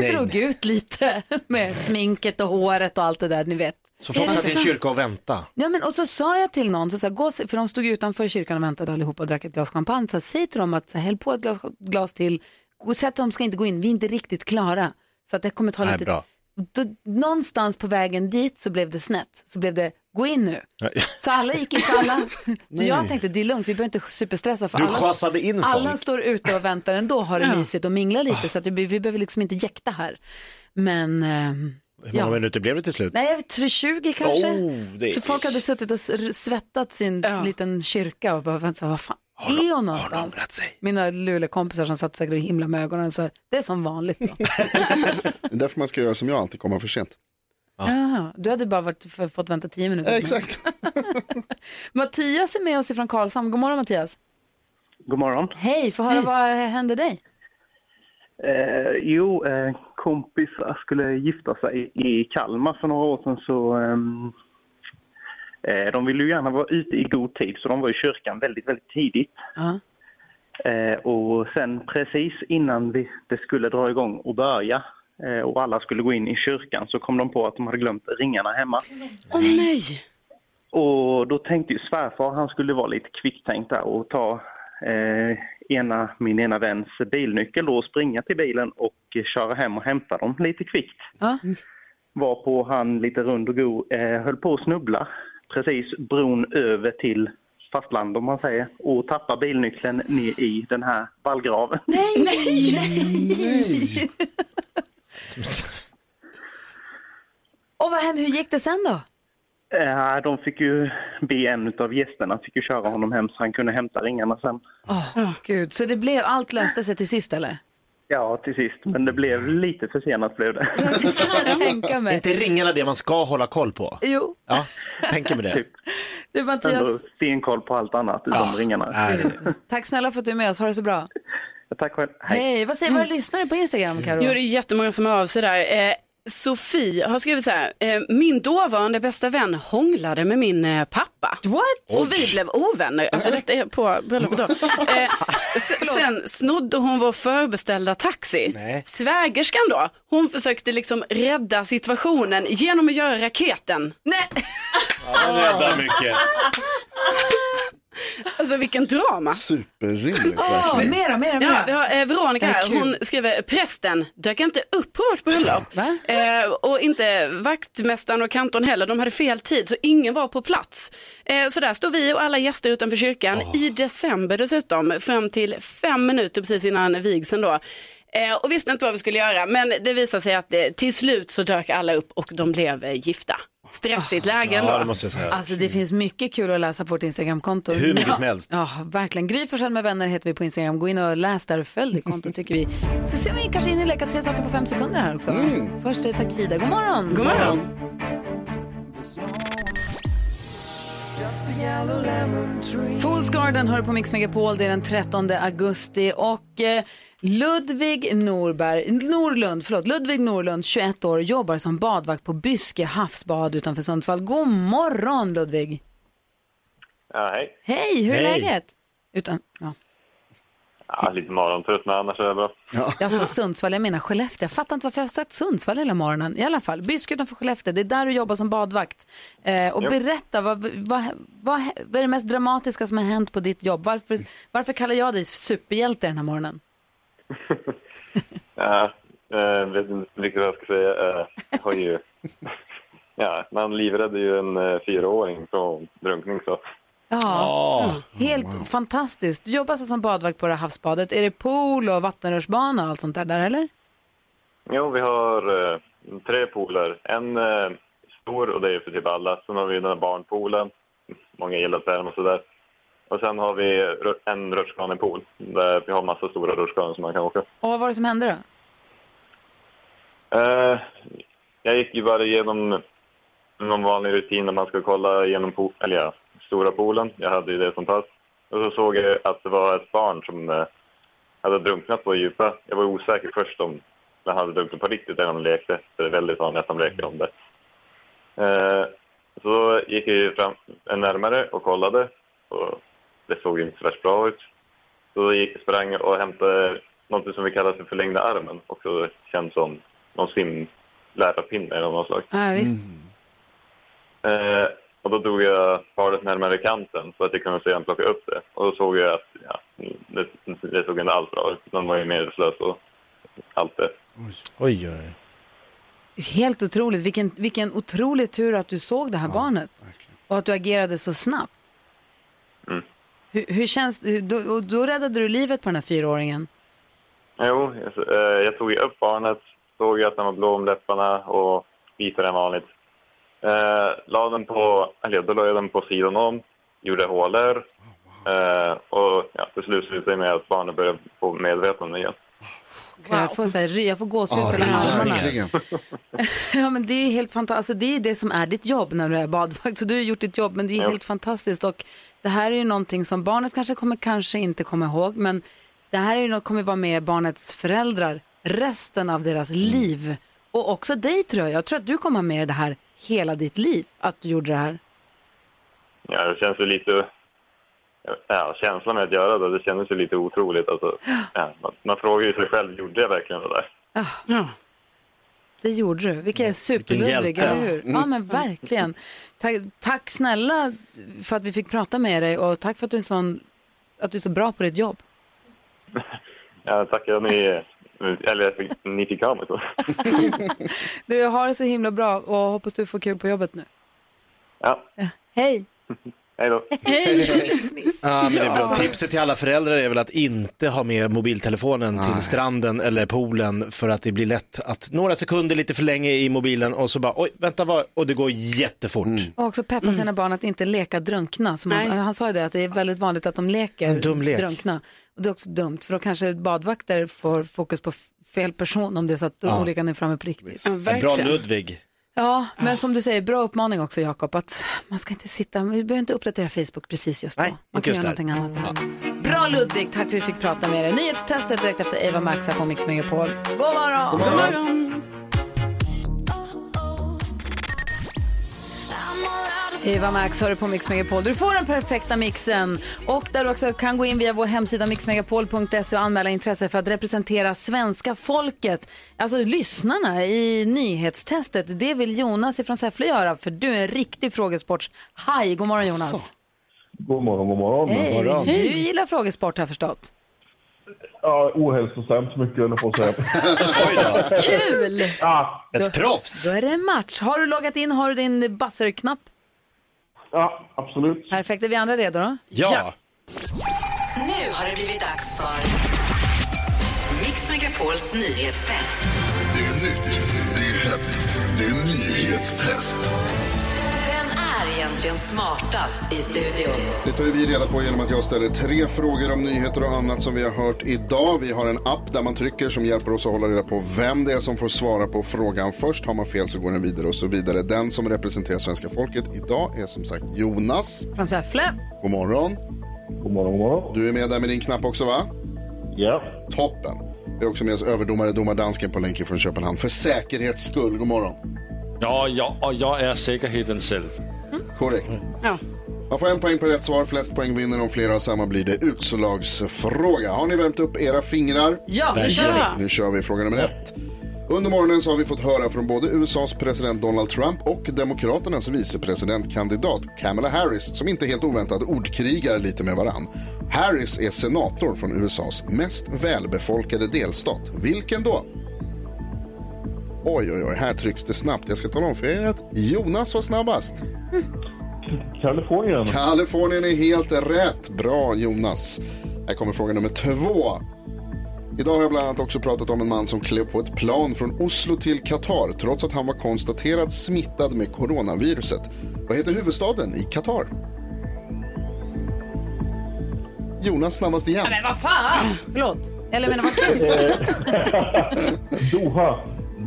Speaker 2: det drog
Speaker 3: nej.
Speaker 2: ut lite med sminket och håret och allt det där, ni vet.
Speaker 3: Så folk
Speaker 2: Är det
Speaker 3: satt i en
Speaker 2: sant?
Speaker 3: kyrka och väntade.
Speaker 2: Ja, men, och så sa jag till någon, så sa, jag, gå, och se- för de stod utanför kyrkan och väntade allihopa och drack ett glas champagne, så jag, säg till dem att så, här, häll på ett glas, glas till, Gå- säg att de ska inte gå in, vi är inte riktigt klara. Så att det kommer ta
Speaker 3: Nej,
Speaker 2: lite
Speaker 3: bra.
Speaker 2: Då, någonstans på vägen dit så blev det snett, så blev det gå in nu. Så alla gick in, så alla. Så jag
Speaker 3: Nej.
Speaker 2: tänkte det är lugnt, vi behöver inte superstressa för
Speaker 3: Du
Speaker 2: alla.
Speaker 3: schasade in folk. Ah.
Speaker 2: Alla står ute och väntar ändå, har det mysigt och minglar lite så att vi, vi behöver liksom inte jäkta här. Men, ehm,
Speaker 3: Hur många
Speaker 2: ja.
Speaker 3: minuter blev det till slut?
Speaker 2: Nej, jag tror 20 kanske.
Speaker 3: Oh, det är-
Speaker 2: Så folk hade suttit och s- svettat sin liten kyrka och bara väntat, vad fan är hon någonstans? Har
Speaker 3: ångrat sig?
Speaker 2: Mina lulekompisar som satt säkert och himla med ögonen så det är som vanligt. Då.
Speaker 6: Det är därför man ska göra som jag, alltid komma för sent.
Speaker 2: Ah, du hade bara varit, f- fått vänta 10 minuter.
Speaker 6: Ja, exakt.
Speaker 2: Mattias är med oss ifrån Karlshamn. God morgon Mattias.
Speaker 15: God morgon.
Speaker 2: Hej, få höra vad hände dig?
Speaker 15: Eh, jo, eh, kompisar skulle gifta sig i Kalmar för några år sedan så ehm, eh, de ville ju gärna vara ute i god tid så de var i kyrkan väldigt, väldigt tidigt.
Speaker 2: Ja.
Speaker 15: Eh, och sen precis innan vi, det skulle dra igång och börja eh, och alla skulle gå in i kyrkan så kom de på att de hade glömt ringarna hemma.
Speaker 5: Åh nej!
Speaker 15: Och då tänkte ju svärfar, han skulle vara lite kvicktänkt där och ta eh, ena, min ena väns bilnyckel då och springa till bilen och eh, köra hem och hämta dem lite kvickt.
Speaker 2: Ja.
Speaker 15: Var på han lite rund och go eh, höll på att snubbla precis bron över till fastland om man säger och tappa bilnyckeln ner i den här vallgraven.
Speaker 2: Nej, nej, nej! och vad hände, hur gick det sen då?
Speaker 15: Eh, de fick ju be en av gästerna fick ju köra honom hem så han kunde hämta ringarna sen.
Speaker 2: Åh gud, så det blev, allt löste sig till sist eller?
Speaker 15: Ja, till sist. Men det blev lite försenat blev det.
Speaker 2: Kan jag tänka
Speaker 3: Är
Speaker 2: mig.
Speaker 3: inte ringarna det man ska hålla koll på?
Speaker 2: Jo.
Speaker 3: Ja, tänker med det.
Speaker 2: Du Mattias,
Speaker 15: Typ. Ändå stenkoll på allt annat utom ringarna.
Speaker 2: tack snälla för att du är med oss. Ha det så bra.
Speaker 15: Tack själv.
Speaker 2: Hej, vad säger våra lyssnare på Instagram, Karo?
Speaker 5: Mm. Jo, det är jättemånga som hör av sig där. Eh, Sofie har skrivit så här, eh, min dåvarande bästa vän hånglade med min eh, pappa.
Speaker 2: What?
Speaker 5: Och vi blev ovänner. Alltså detta är på bröllopet då. Eh, s- sen snodde hon vår förbeställda taxi. Svägerskan då, hon försökte liksom rädda situationen genom att göra raketen.
Speaker 2: Nej.
Speaker 3: Ja, den räddar mycket.
Speaker 5: Alltså vilken drama.
Speaker 6: Superrimligt
Speaker 5: Ja,
Speaker 6: verkligen.
Speaker 2: mera, mera,
Speaker 5: Ja,
Speaker 2: mera.
Speaker 5: vi har eh, Veronica
Speaker 2: Det här är
Speaker 5: här.
Speaker 2: kul.
Speaker 5: Hon skriver, prästen dök inte upp på vårt bröllop. eh, och inte vaktmästaren och kantorn heller. De hade fel tid, så ingen var på plats. Eh, så där står vi och alla gäster utanför kyrkan i december dessutom, fram till fem minuter precis innan vigseln då. Eh, och visste inte vad vi skulle göra, men det visade sig att eh, till slut så dök alla upp och de blev eh, gifta. Stressigt läge ändå.
Speaker 3: Ja, det måste jag säga.
Speaker 2: Alltså det finns mycket kul att läsa på vårt Instagramkonto.
Speaker 3: Hur mycket
Speaker 2: ja.
Speaker 3: som helst.
Speaker 2: Ja, verkligen. Gry Forssell med vänner heter vi på Instagram. Gå in och läs där och följ det kontot tycker vi. Så ser vi kanske in i leka tre saker på fem sekunder här också.
Speaker 3: Mm.
Speaker 2: Först är det Takida. God morgon.
Speaker 5: God morgon.
Speaker 12: Mm.
Speaker 2: Fools Garden hör på Mix Megapol, det är den 13 augusti och eh, Ludvig Norberg, Norlund, förlåt, Ludvig Norlund, 21 år, jobbar som badvakt på Byske havsbad utanför Sundsvall. God morgon Ludvig!
Speaker 16: Ja, hej.
Speaker 2: Hej, hur är
Speaker 16: Hej.
Speaker 2: läget? Utan, ja.
Speaker 16: Ja, lite morgontrött, men annars är det bra.
Speaker 2: Jag sa alltså Sundsvall, jag menar Skellefteå. Jag fattar inte varför jag har sagt Sundsvall hela morgonen. I alla fall, Byske utanför Skellefteå, det är där du jobbar som badvakt. Eh, och
Speaker 16: Ja.
Speaker 2: berätta, vad, vad, vad, vad är det mest dramatiska som har hänt på ditt jobb? Varför, varför kallar jag dig superhjälte den här morgonen?
Speaker 16: Ja, eh, vet inte riktigt vad jag ska säga. Eh, jag har ju... Ja, man livräddade ju en eh, fyraåring från drunkning, så...
Speaker 2: Ja, Mm. helt fantastiskt. Du jobbar alltså som badvakt på det här havsbadet. Är det pool och vattenrutschbana och allt sånt där, där eller?
Speaker 16: Jo, vi har eh, tre pooler. En eh, stor, och det är för typ alla. Sen har vi den här barnpoolen. Många gillar term och sådär. Och sen har vi ru- en rutschkanepool, där vi har massa stora rutschkanor som man kan åka.
Speaker 2: Och vad var det som hände då?
Speaker 16: Eh, jag gick ju bara igenom någon vanlig rutin när man ska kolla igenom po- eller ja, stora poolen. Jag hade ju det som pass. Och så såg jag att det var ett barn som eh, hade drunknat på djupa. Jag var osäker först om han hade drunknat på riktigt eller om han lekte. För det är väldigt vanligt att de leker om det. Eh, så gick jag ju fram närmare och kollade. Och det såg ju inte så värst bra ut. Så gick, sprang jag och hämtade något som vi kallar för förlängda armen. Och så känns som någon simlärarpinne eller något slag.
Speaker 2: Ja, visst.
Speaker 16: Eh, och då drog jag paret närmare kanten så att jag kunde sedan plocka upp det. Och då såg jag att ja, det, det såg inte alls bra ut. Den var ju medvetslös och allt det.
Speaker 3: Oj, oj.
Speaker 2: Helt otroligt. Vilken, vilken otrolig tur att du såg det här barnet. Och att du agerade så snabbt.
Speaker 16: Mm.
Speaker 2: Hur, hur känns hur- då, och då räddade du livet på den här fyraåringen.
Speaker 16: Jo, jag, eh, jag tog ju upp barnet, såg ju att den var blå om läpparna och vitare än vanligt. Eh, la den på, eller då la jag den på sidan om, gjorde hålor
Speaker 3: Oh,
Speaker 16: eh, och ja, till slut slutade det med att barnet började få medvetande igen.
Speaker 2: Wow. Jag får, så här, ry- jag får gåshud på
Speaker 16: Ja,
Speaker 2: den här armarna.
Speaker 16: verkligen.
Speaker 2: ja, men det är ju helt fantastiskt. Alltså, det är det som är ditt jobb när du är badvakt. Så du har gjort ditt jobb, men det är ju
Speaker 16: Ja.
Speaker 2: helt fantastiskt. Och det här är ju någonting som barnet kanske kommer kanske inte komma ihåg, men det här är ju något kommer vara med barnets föräldrar resten av deras
Speaker 16: Mm.
Speaker 2: liv. Och också dig tror jag. Jag tror att du kommer ha med det här hela ditt liv, att du gjorde det här.
Speaker 16: Ja, det känns ju lite... Ja, känslan med att göra det, det kändes ju lite otroligt. Alltså, ja, man, man frågar ju sig själv, gjorde jag verkligen det där?
Speaker 5: Ja.
Speaker 2: Det gjorde du.
Speaker 3: Mm.
Speaker 2: Vilka super-Ludvig,
Speaker 16: hjälte.
Speaker 2: eller hur?
Speaker 16: Mm.
Speaker 2: Ja, men verkligen. Tack, tack snälla för att vi fick prata med dig och tack för att du är, sån, att du är så bra på ditt jobb.
Speaker 16: Ja, tackar att ni... Eller att vi- ni fick ha mig så.
Speaker 2: Du har det så himla bra och hoppas du får kul på jobbet nu.
Speaker 16: Ja,
Speaker 2: Hej!
Speaker 16: hej då.
Speaker 3: Ja, men det är bra.
Speaker 2: Ja.
Speaker 3: Tipset till alla föräldrar är väl att inte ha med mobiltelefonen till stranden eller poolen för att det blir lätt att några sekunder lite för länge i mobilen och så bara oj, vänta vad, och det går jättefort.
Speaker 2: Och också peppa sina barn att inte leka drunkna. Som han, han sa ju det, att det är väldigt vanligt att de leker
Speaker 3: En dum lek.
Speaker 2: drunkna. Och det är också dumt, för då kanske badvakter får fokus på f- fel person om det är så att
Speaker 3: Ja.
Speaker 2: olyckan är framme på riktigt.
Speaker 3: Bra Ludvig.
Speaker 2: Ja, men som du säger, bra uppmaning också Jakob, att man ska inte sitta, vi behöver inte uppdatera Facebook precis just då. man
Speaker 1: inte
Speaker 2: kan
Speaker 1: just
Speaker 2: göra
Speaker 1: där.
Speaker 2: någonting annat där. Bra Ludvig, tack för att vi fick prata med dig. Nyhetstestet direkt efter Eva Max här på Mix Megapol. God morgon!
Speaker 1: God
Speaker 2: Eva Max hör du på Mix Megapol. Du får den perfekta mixen. Och där du också kan gå in via vår hemsida mixmegapol.se och anmäla intresse för att representera svenska folket, alltså lyssnarna i nyhetstestet. Det vill Jonas ifrån Säffle göra, för du är en riktig frågesportshaj. God morgon Jonas.
Speaker 17: God morgon, god morgon.
Speaker 2: Hej.
Speaker 17: God morgon.
Speaker 2: Du gillar frågesport har jag förstått.
Speaker 17: Ja, ohälsosamt mycket höll jag på att säga.
Speaker 2: Kul!
Speaker 17: Ja.
Speaker 2: Då- Då är det en match. Har du loggat in? Har du din buzzer-knapp?
Speaker 17: Ja, absolut.
Speaker 2: Perfekt. Är vi andra redo då?
Speaker 17: Ja.
Speaker 18: Nu har det blivit dags för Mix Megapols nyhetstest.
Speaker 19: Det är nytt, det är hett, det är nyhetstest.
Speaker 18: Vem är egentligen smartast i studion?
Speaker 6: Det tar ju vi reda på genom att jag ställer tre frågor om nyheter och annat som vi har hört idag. Vi har en app där man trycker som hjälper oss att hålla reda på vem det är som får svara på frågan först. Har man fel så går den vidare och så vidare. Den som representerar svenska folket idag är som sagt Jonas.
Speaker 2: Från Säffle.
Speaker 6: God morgon.
Speaker 17: God morgon, god morgon.
Speaker 6: Du är med där med din knapp också va?
Speaker 17: Ja.
Speaker 6: Toppen. Vi har också med oss överdomare domardansken på länk från Köpenhamn. För säkerhets skull, god morgon.
Speaker 9: Ja, ja, och jag är säkerheten själv.
Speaker 2: Mm.
Speaker 6: Korrekt. Man får en poäng per rätt svar. Flest poäng vinner. Om flera har samma blir det utslagsfråga. Har ni värmt upp era fingrar?
Speaker 19: Ja, nu kör vi.
Speaker 6: Nu kör vi fråga nummer ett. Under morgonen så har vi fått höra från både USAs president Donald Trump och Demokraternas vicepresidentkandidat Kamala Harris som inte helt oväntat ordkrigar lite med varann. Harris är senator från USAs mest välbefolkade delstat. Vilken då? Oj, oj, oj, här trycks det snabbt. Jag ska tala om för er att Jonas var snabbast.
Speaker 17: Kalifornien.
Speaker 6: Kalifornien är helt rätt. Bra Jonas. Här kommer fråga nummer två. Idag har jag bland annat också pratat om en man som klev på ett plan från Oslo till Qatar trots att han var konstaterad smittad med coronaviruset. Vad heter huvudstaden i Qatar? Jonas snabbast igen.
Speaker 2: Men vad fan! Förlåt. Eller jag menar vad kul.
Speaker 6: Doha.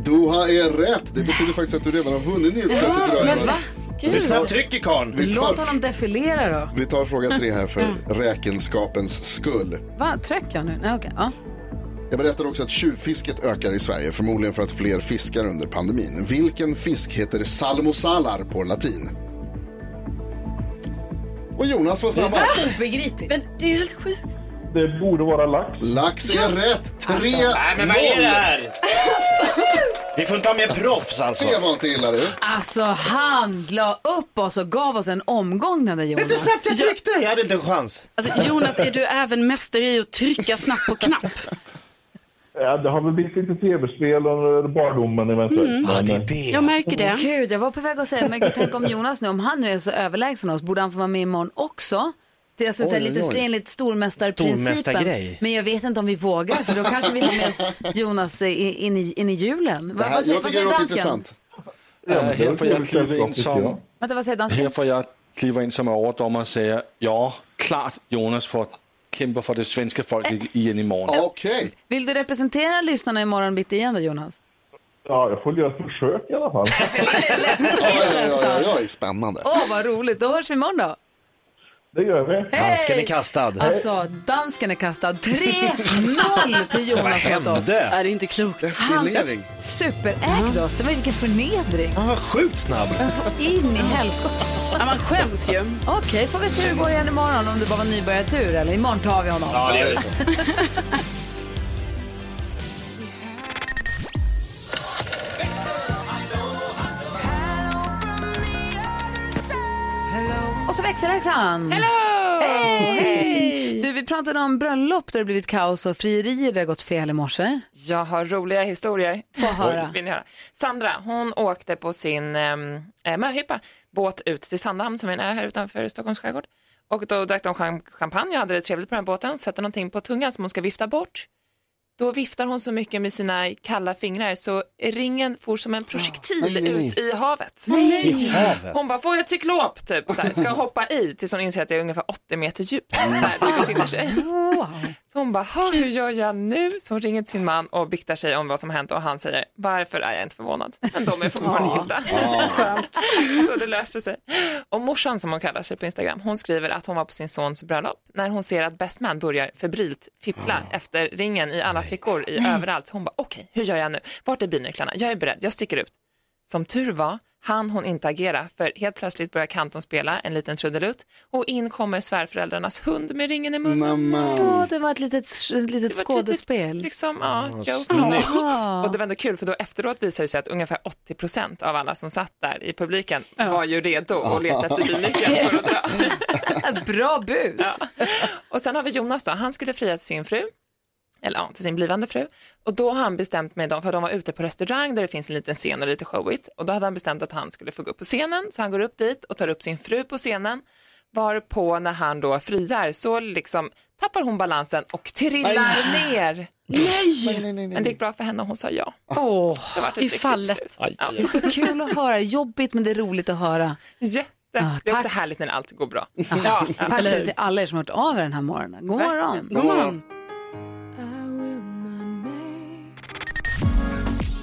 Speaker 6: Doha är rätt. Det betyder faktiskt att du redan har vunnit nyhetstestet idag.
Speaker 2: Ah, Men
Speaker 6: Jonas.
Speaker 2: va? Gud.
Speaker 6: Hur snabbt trycker karln? Vi tar-
Speaker 2: Låt honom defilera då.
Speaker 6: Vi tar fråga tre här för räkenskapens skull.
Speaker 2: Va, tröck jag nu? Nej, okej. Ja.
Speaker 6: Jag berättade också att tjuvfisket ökar i Sverige, förmodligen för att fler fiskar under pandemin. Vilken fisk heter salmosalar på latin? Och Jonas var snabbast.
Speaker 2: Obegripligt.
Speaker 5: Men det är helt sjukt.
Speaker 17: Det borde vara lax.
Speaker 6: Lax är rätt. Tre,
Speaker 3: Nej, men vad är det här?
Speaker 6: Vi får inte ha med proffs alltså. Det var inte illa du.
Speaker 2: Alltså han la upp oss och gav oss en omgång den där Jonas.
Speaker 5: du snabbt jag
Speaker 3: tryckte? Jag hade inte en chans.
Speaker 5: Alltså, Jonas, är du även mästare i att trycka snabbt på knapp?
Speaker 17: Ja, det har väl blivit lite tv-spel under barndomen eventuellt.
Speaker 5: Mm. Ja, det är det. Jag märker det.
Speaker 2: Gud, jag var på väg att säga, men gud, tänk om Jonas nu, om han nu är så överlägsen oss, borde han få vara med imorgon också? Det är alltså
Speaker 1: Oj,
Speaker 2: så här,
Speaker 1: oj,
Speaker 2: lite
Speaker 1: oj.
Speaker 2: enligt stormästarprincipen.
Speaker 1: Stormästargrej.
Speaker 2: Men jag vet inte om vi vågar, för då kanske vi har med oss Jonas i- in i, in i julen.
Speaker 6: Det
Speaker 2: Vad-
Speaker 6: här,
Speaker 2: vad säger-
Speaker 6: jag
Speaker 2: vad
Speaker 6: tycker det
Speaker 2: säger
Speaker 6: låter
Speaker 2: dansken?
Speaker 6: intressant.
Speaker 9: Ja, här får jag kliva in som,
Speaker 2: Vänta, vad säger dansken?
Speaker 9: här får jag kliva in som överdomare och säga ja, klart Jonas får kämpa för det svenska folket igen imorgon.
Speaker 6: Okej.
Speaker 2: Vill du representera lyssnarna imorgon bitti igen då, Jonas?
Speaker 17: Ja, jag får göra ett försök i alla fall.
Speaker 6: Oj, spännande.
Speaker 2: Åh, vad roligt. Då hörs vi imorgon då.
Speaker 17: Det gör vi.
Speaker 2: Hej!
Speaker 3: Handsken är kastad.
Speaker 2: Alltså, dansken är kastad. 3-0 till
Speaker 3: Vad
Speaker 2: Jonas
Speaker 3: hände?
Speaker 2: mot oss.
Speaker 5: Är det inte klokt?
Speaker 2: Han superägde oss. Det var vilken förnedring.
Speaker 3: Han var sjukt snabb.
Speaker 2: In i helskotta.
Speaker 5: Ja, man skäms ju.
Speaker 2: Okej, får vi se hur det går igen imorgon om det bara var nybörjartur eller imorgon tar vi honom.
Speaker 3: Ja, det är det så.
Speaker 2: Och så växelhäxan! Hello! Hej! Du, vi pratade om bröllop där det blivit kaos och frierier där det gått fel i morse.
Speaker 20: Jag har roliga historier.
Speaker 2: Få höra.
Speaker 20: Vill ni höra? Sandra, hon åkte på sin ehm, eh, möhippa, båt ut till Sandhamn som är en ö här utanför Stockholms skärgård. Och då drack de cham- champagne och hade det trevligt på den här båten, sätter någonting på tungan som hon ska vifta bort. Då viftar hon så mycket med sina kalla fingrar så ringen for som en projektil
Speaker 12: Ah, nej, nej, nej.
Speaker 20: ut i havet.
Speaker 12: Nej. I havet?
Speaker 20: Hon bara, får jag cyklop? Typ, så här, ska hoppa i tills hon inser att det är ungefär 80 meter djupt. Där det befinner sig. Så hon bara, "Ha, hur gör jag nu? Så hon ringer till sin man och biktar sig om vad som hänt och han säger, varför är jag inte förvånad? Men de är fortfarande gifta. Skönt. Så det löser sig. Och morsan som hon kallar sig på Instagram, hon skriver att hon var på sin sons bröllop när hon ser att best man börjar febrilt fippla efter ringen i alla fickor i överallt. Så hon bara, okej, hur gör jag nu? Vart är bilnycklarna? Jag är beredd, jag sticker ut. Som tur var han hon inte agera för helt plötsligt börjar Kanton spela en liten trudelutt och in kommer svärföräldrarnas hund med ringen i munnen.
Speaker 2: Åh, det var ett litet, ett litet
Speaker 20: Det var ett litet,
Speaker 2: skådespel.
Speaker 20: Liksom, ja,
Speaker 2: Vad
Speaker 20: joke.
Speaker 2: snyggt.
Speaker 20: Och det var ändå kul för då efteråt visade det sig att ungefär 80 procent av alla som satt där i publiken var ju redo och letade efter bilnyckeln för att dra.
Speaker 2: Bra bus!
Speaker 20: Ja. Och sen har vi Jonas då, han skulle fria till sin fru eller ja, till sin blivande fru. Och då har han bestämt med dem, för de var ute på restaurang där det finns en liten scen och lite showigt. Och då hade han bestämt att han skulle få gå upp på scenen, så han går upp dit och tar upp sin fru på scenen. Varpå när han då friar så liksom tappar hon balansen och trillar
Speaker 21: Nej.
Speaker 20: ner.
Speaker 21: Nej!
Speaker 20: Men det gick bra för henne och hon sa ja.
Speaker 2: Åh,
Speaker 20: Så vart det ett
Speaker 2: i
Speaker 20: riktigt
Speaker 2: fallet.
Speaker 20: slut. Aj, aj, aj.
Speaker 2: Det är så kul att höra. Jobbigt men det är roligt att höra.
Speaker 20: Jätte. det är också härligt när allt går bra.
Speaker 2: Ja, Tack så till alla er som har hört av er den här morgonen. God morgon.
Speaker 20: God morgon.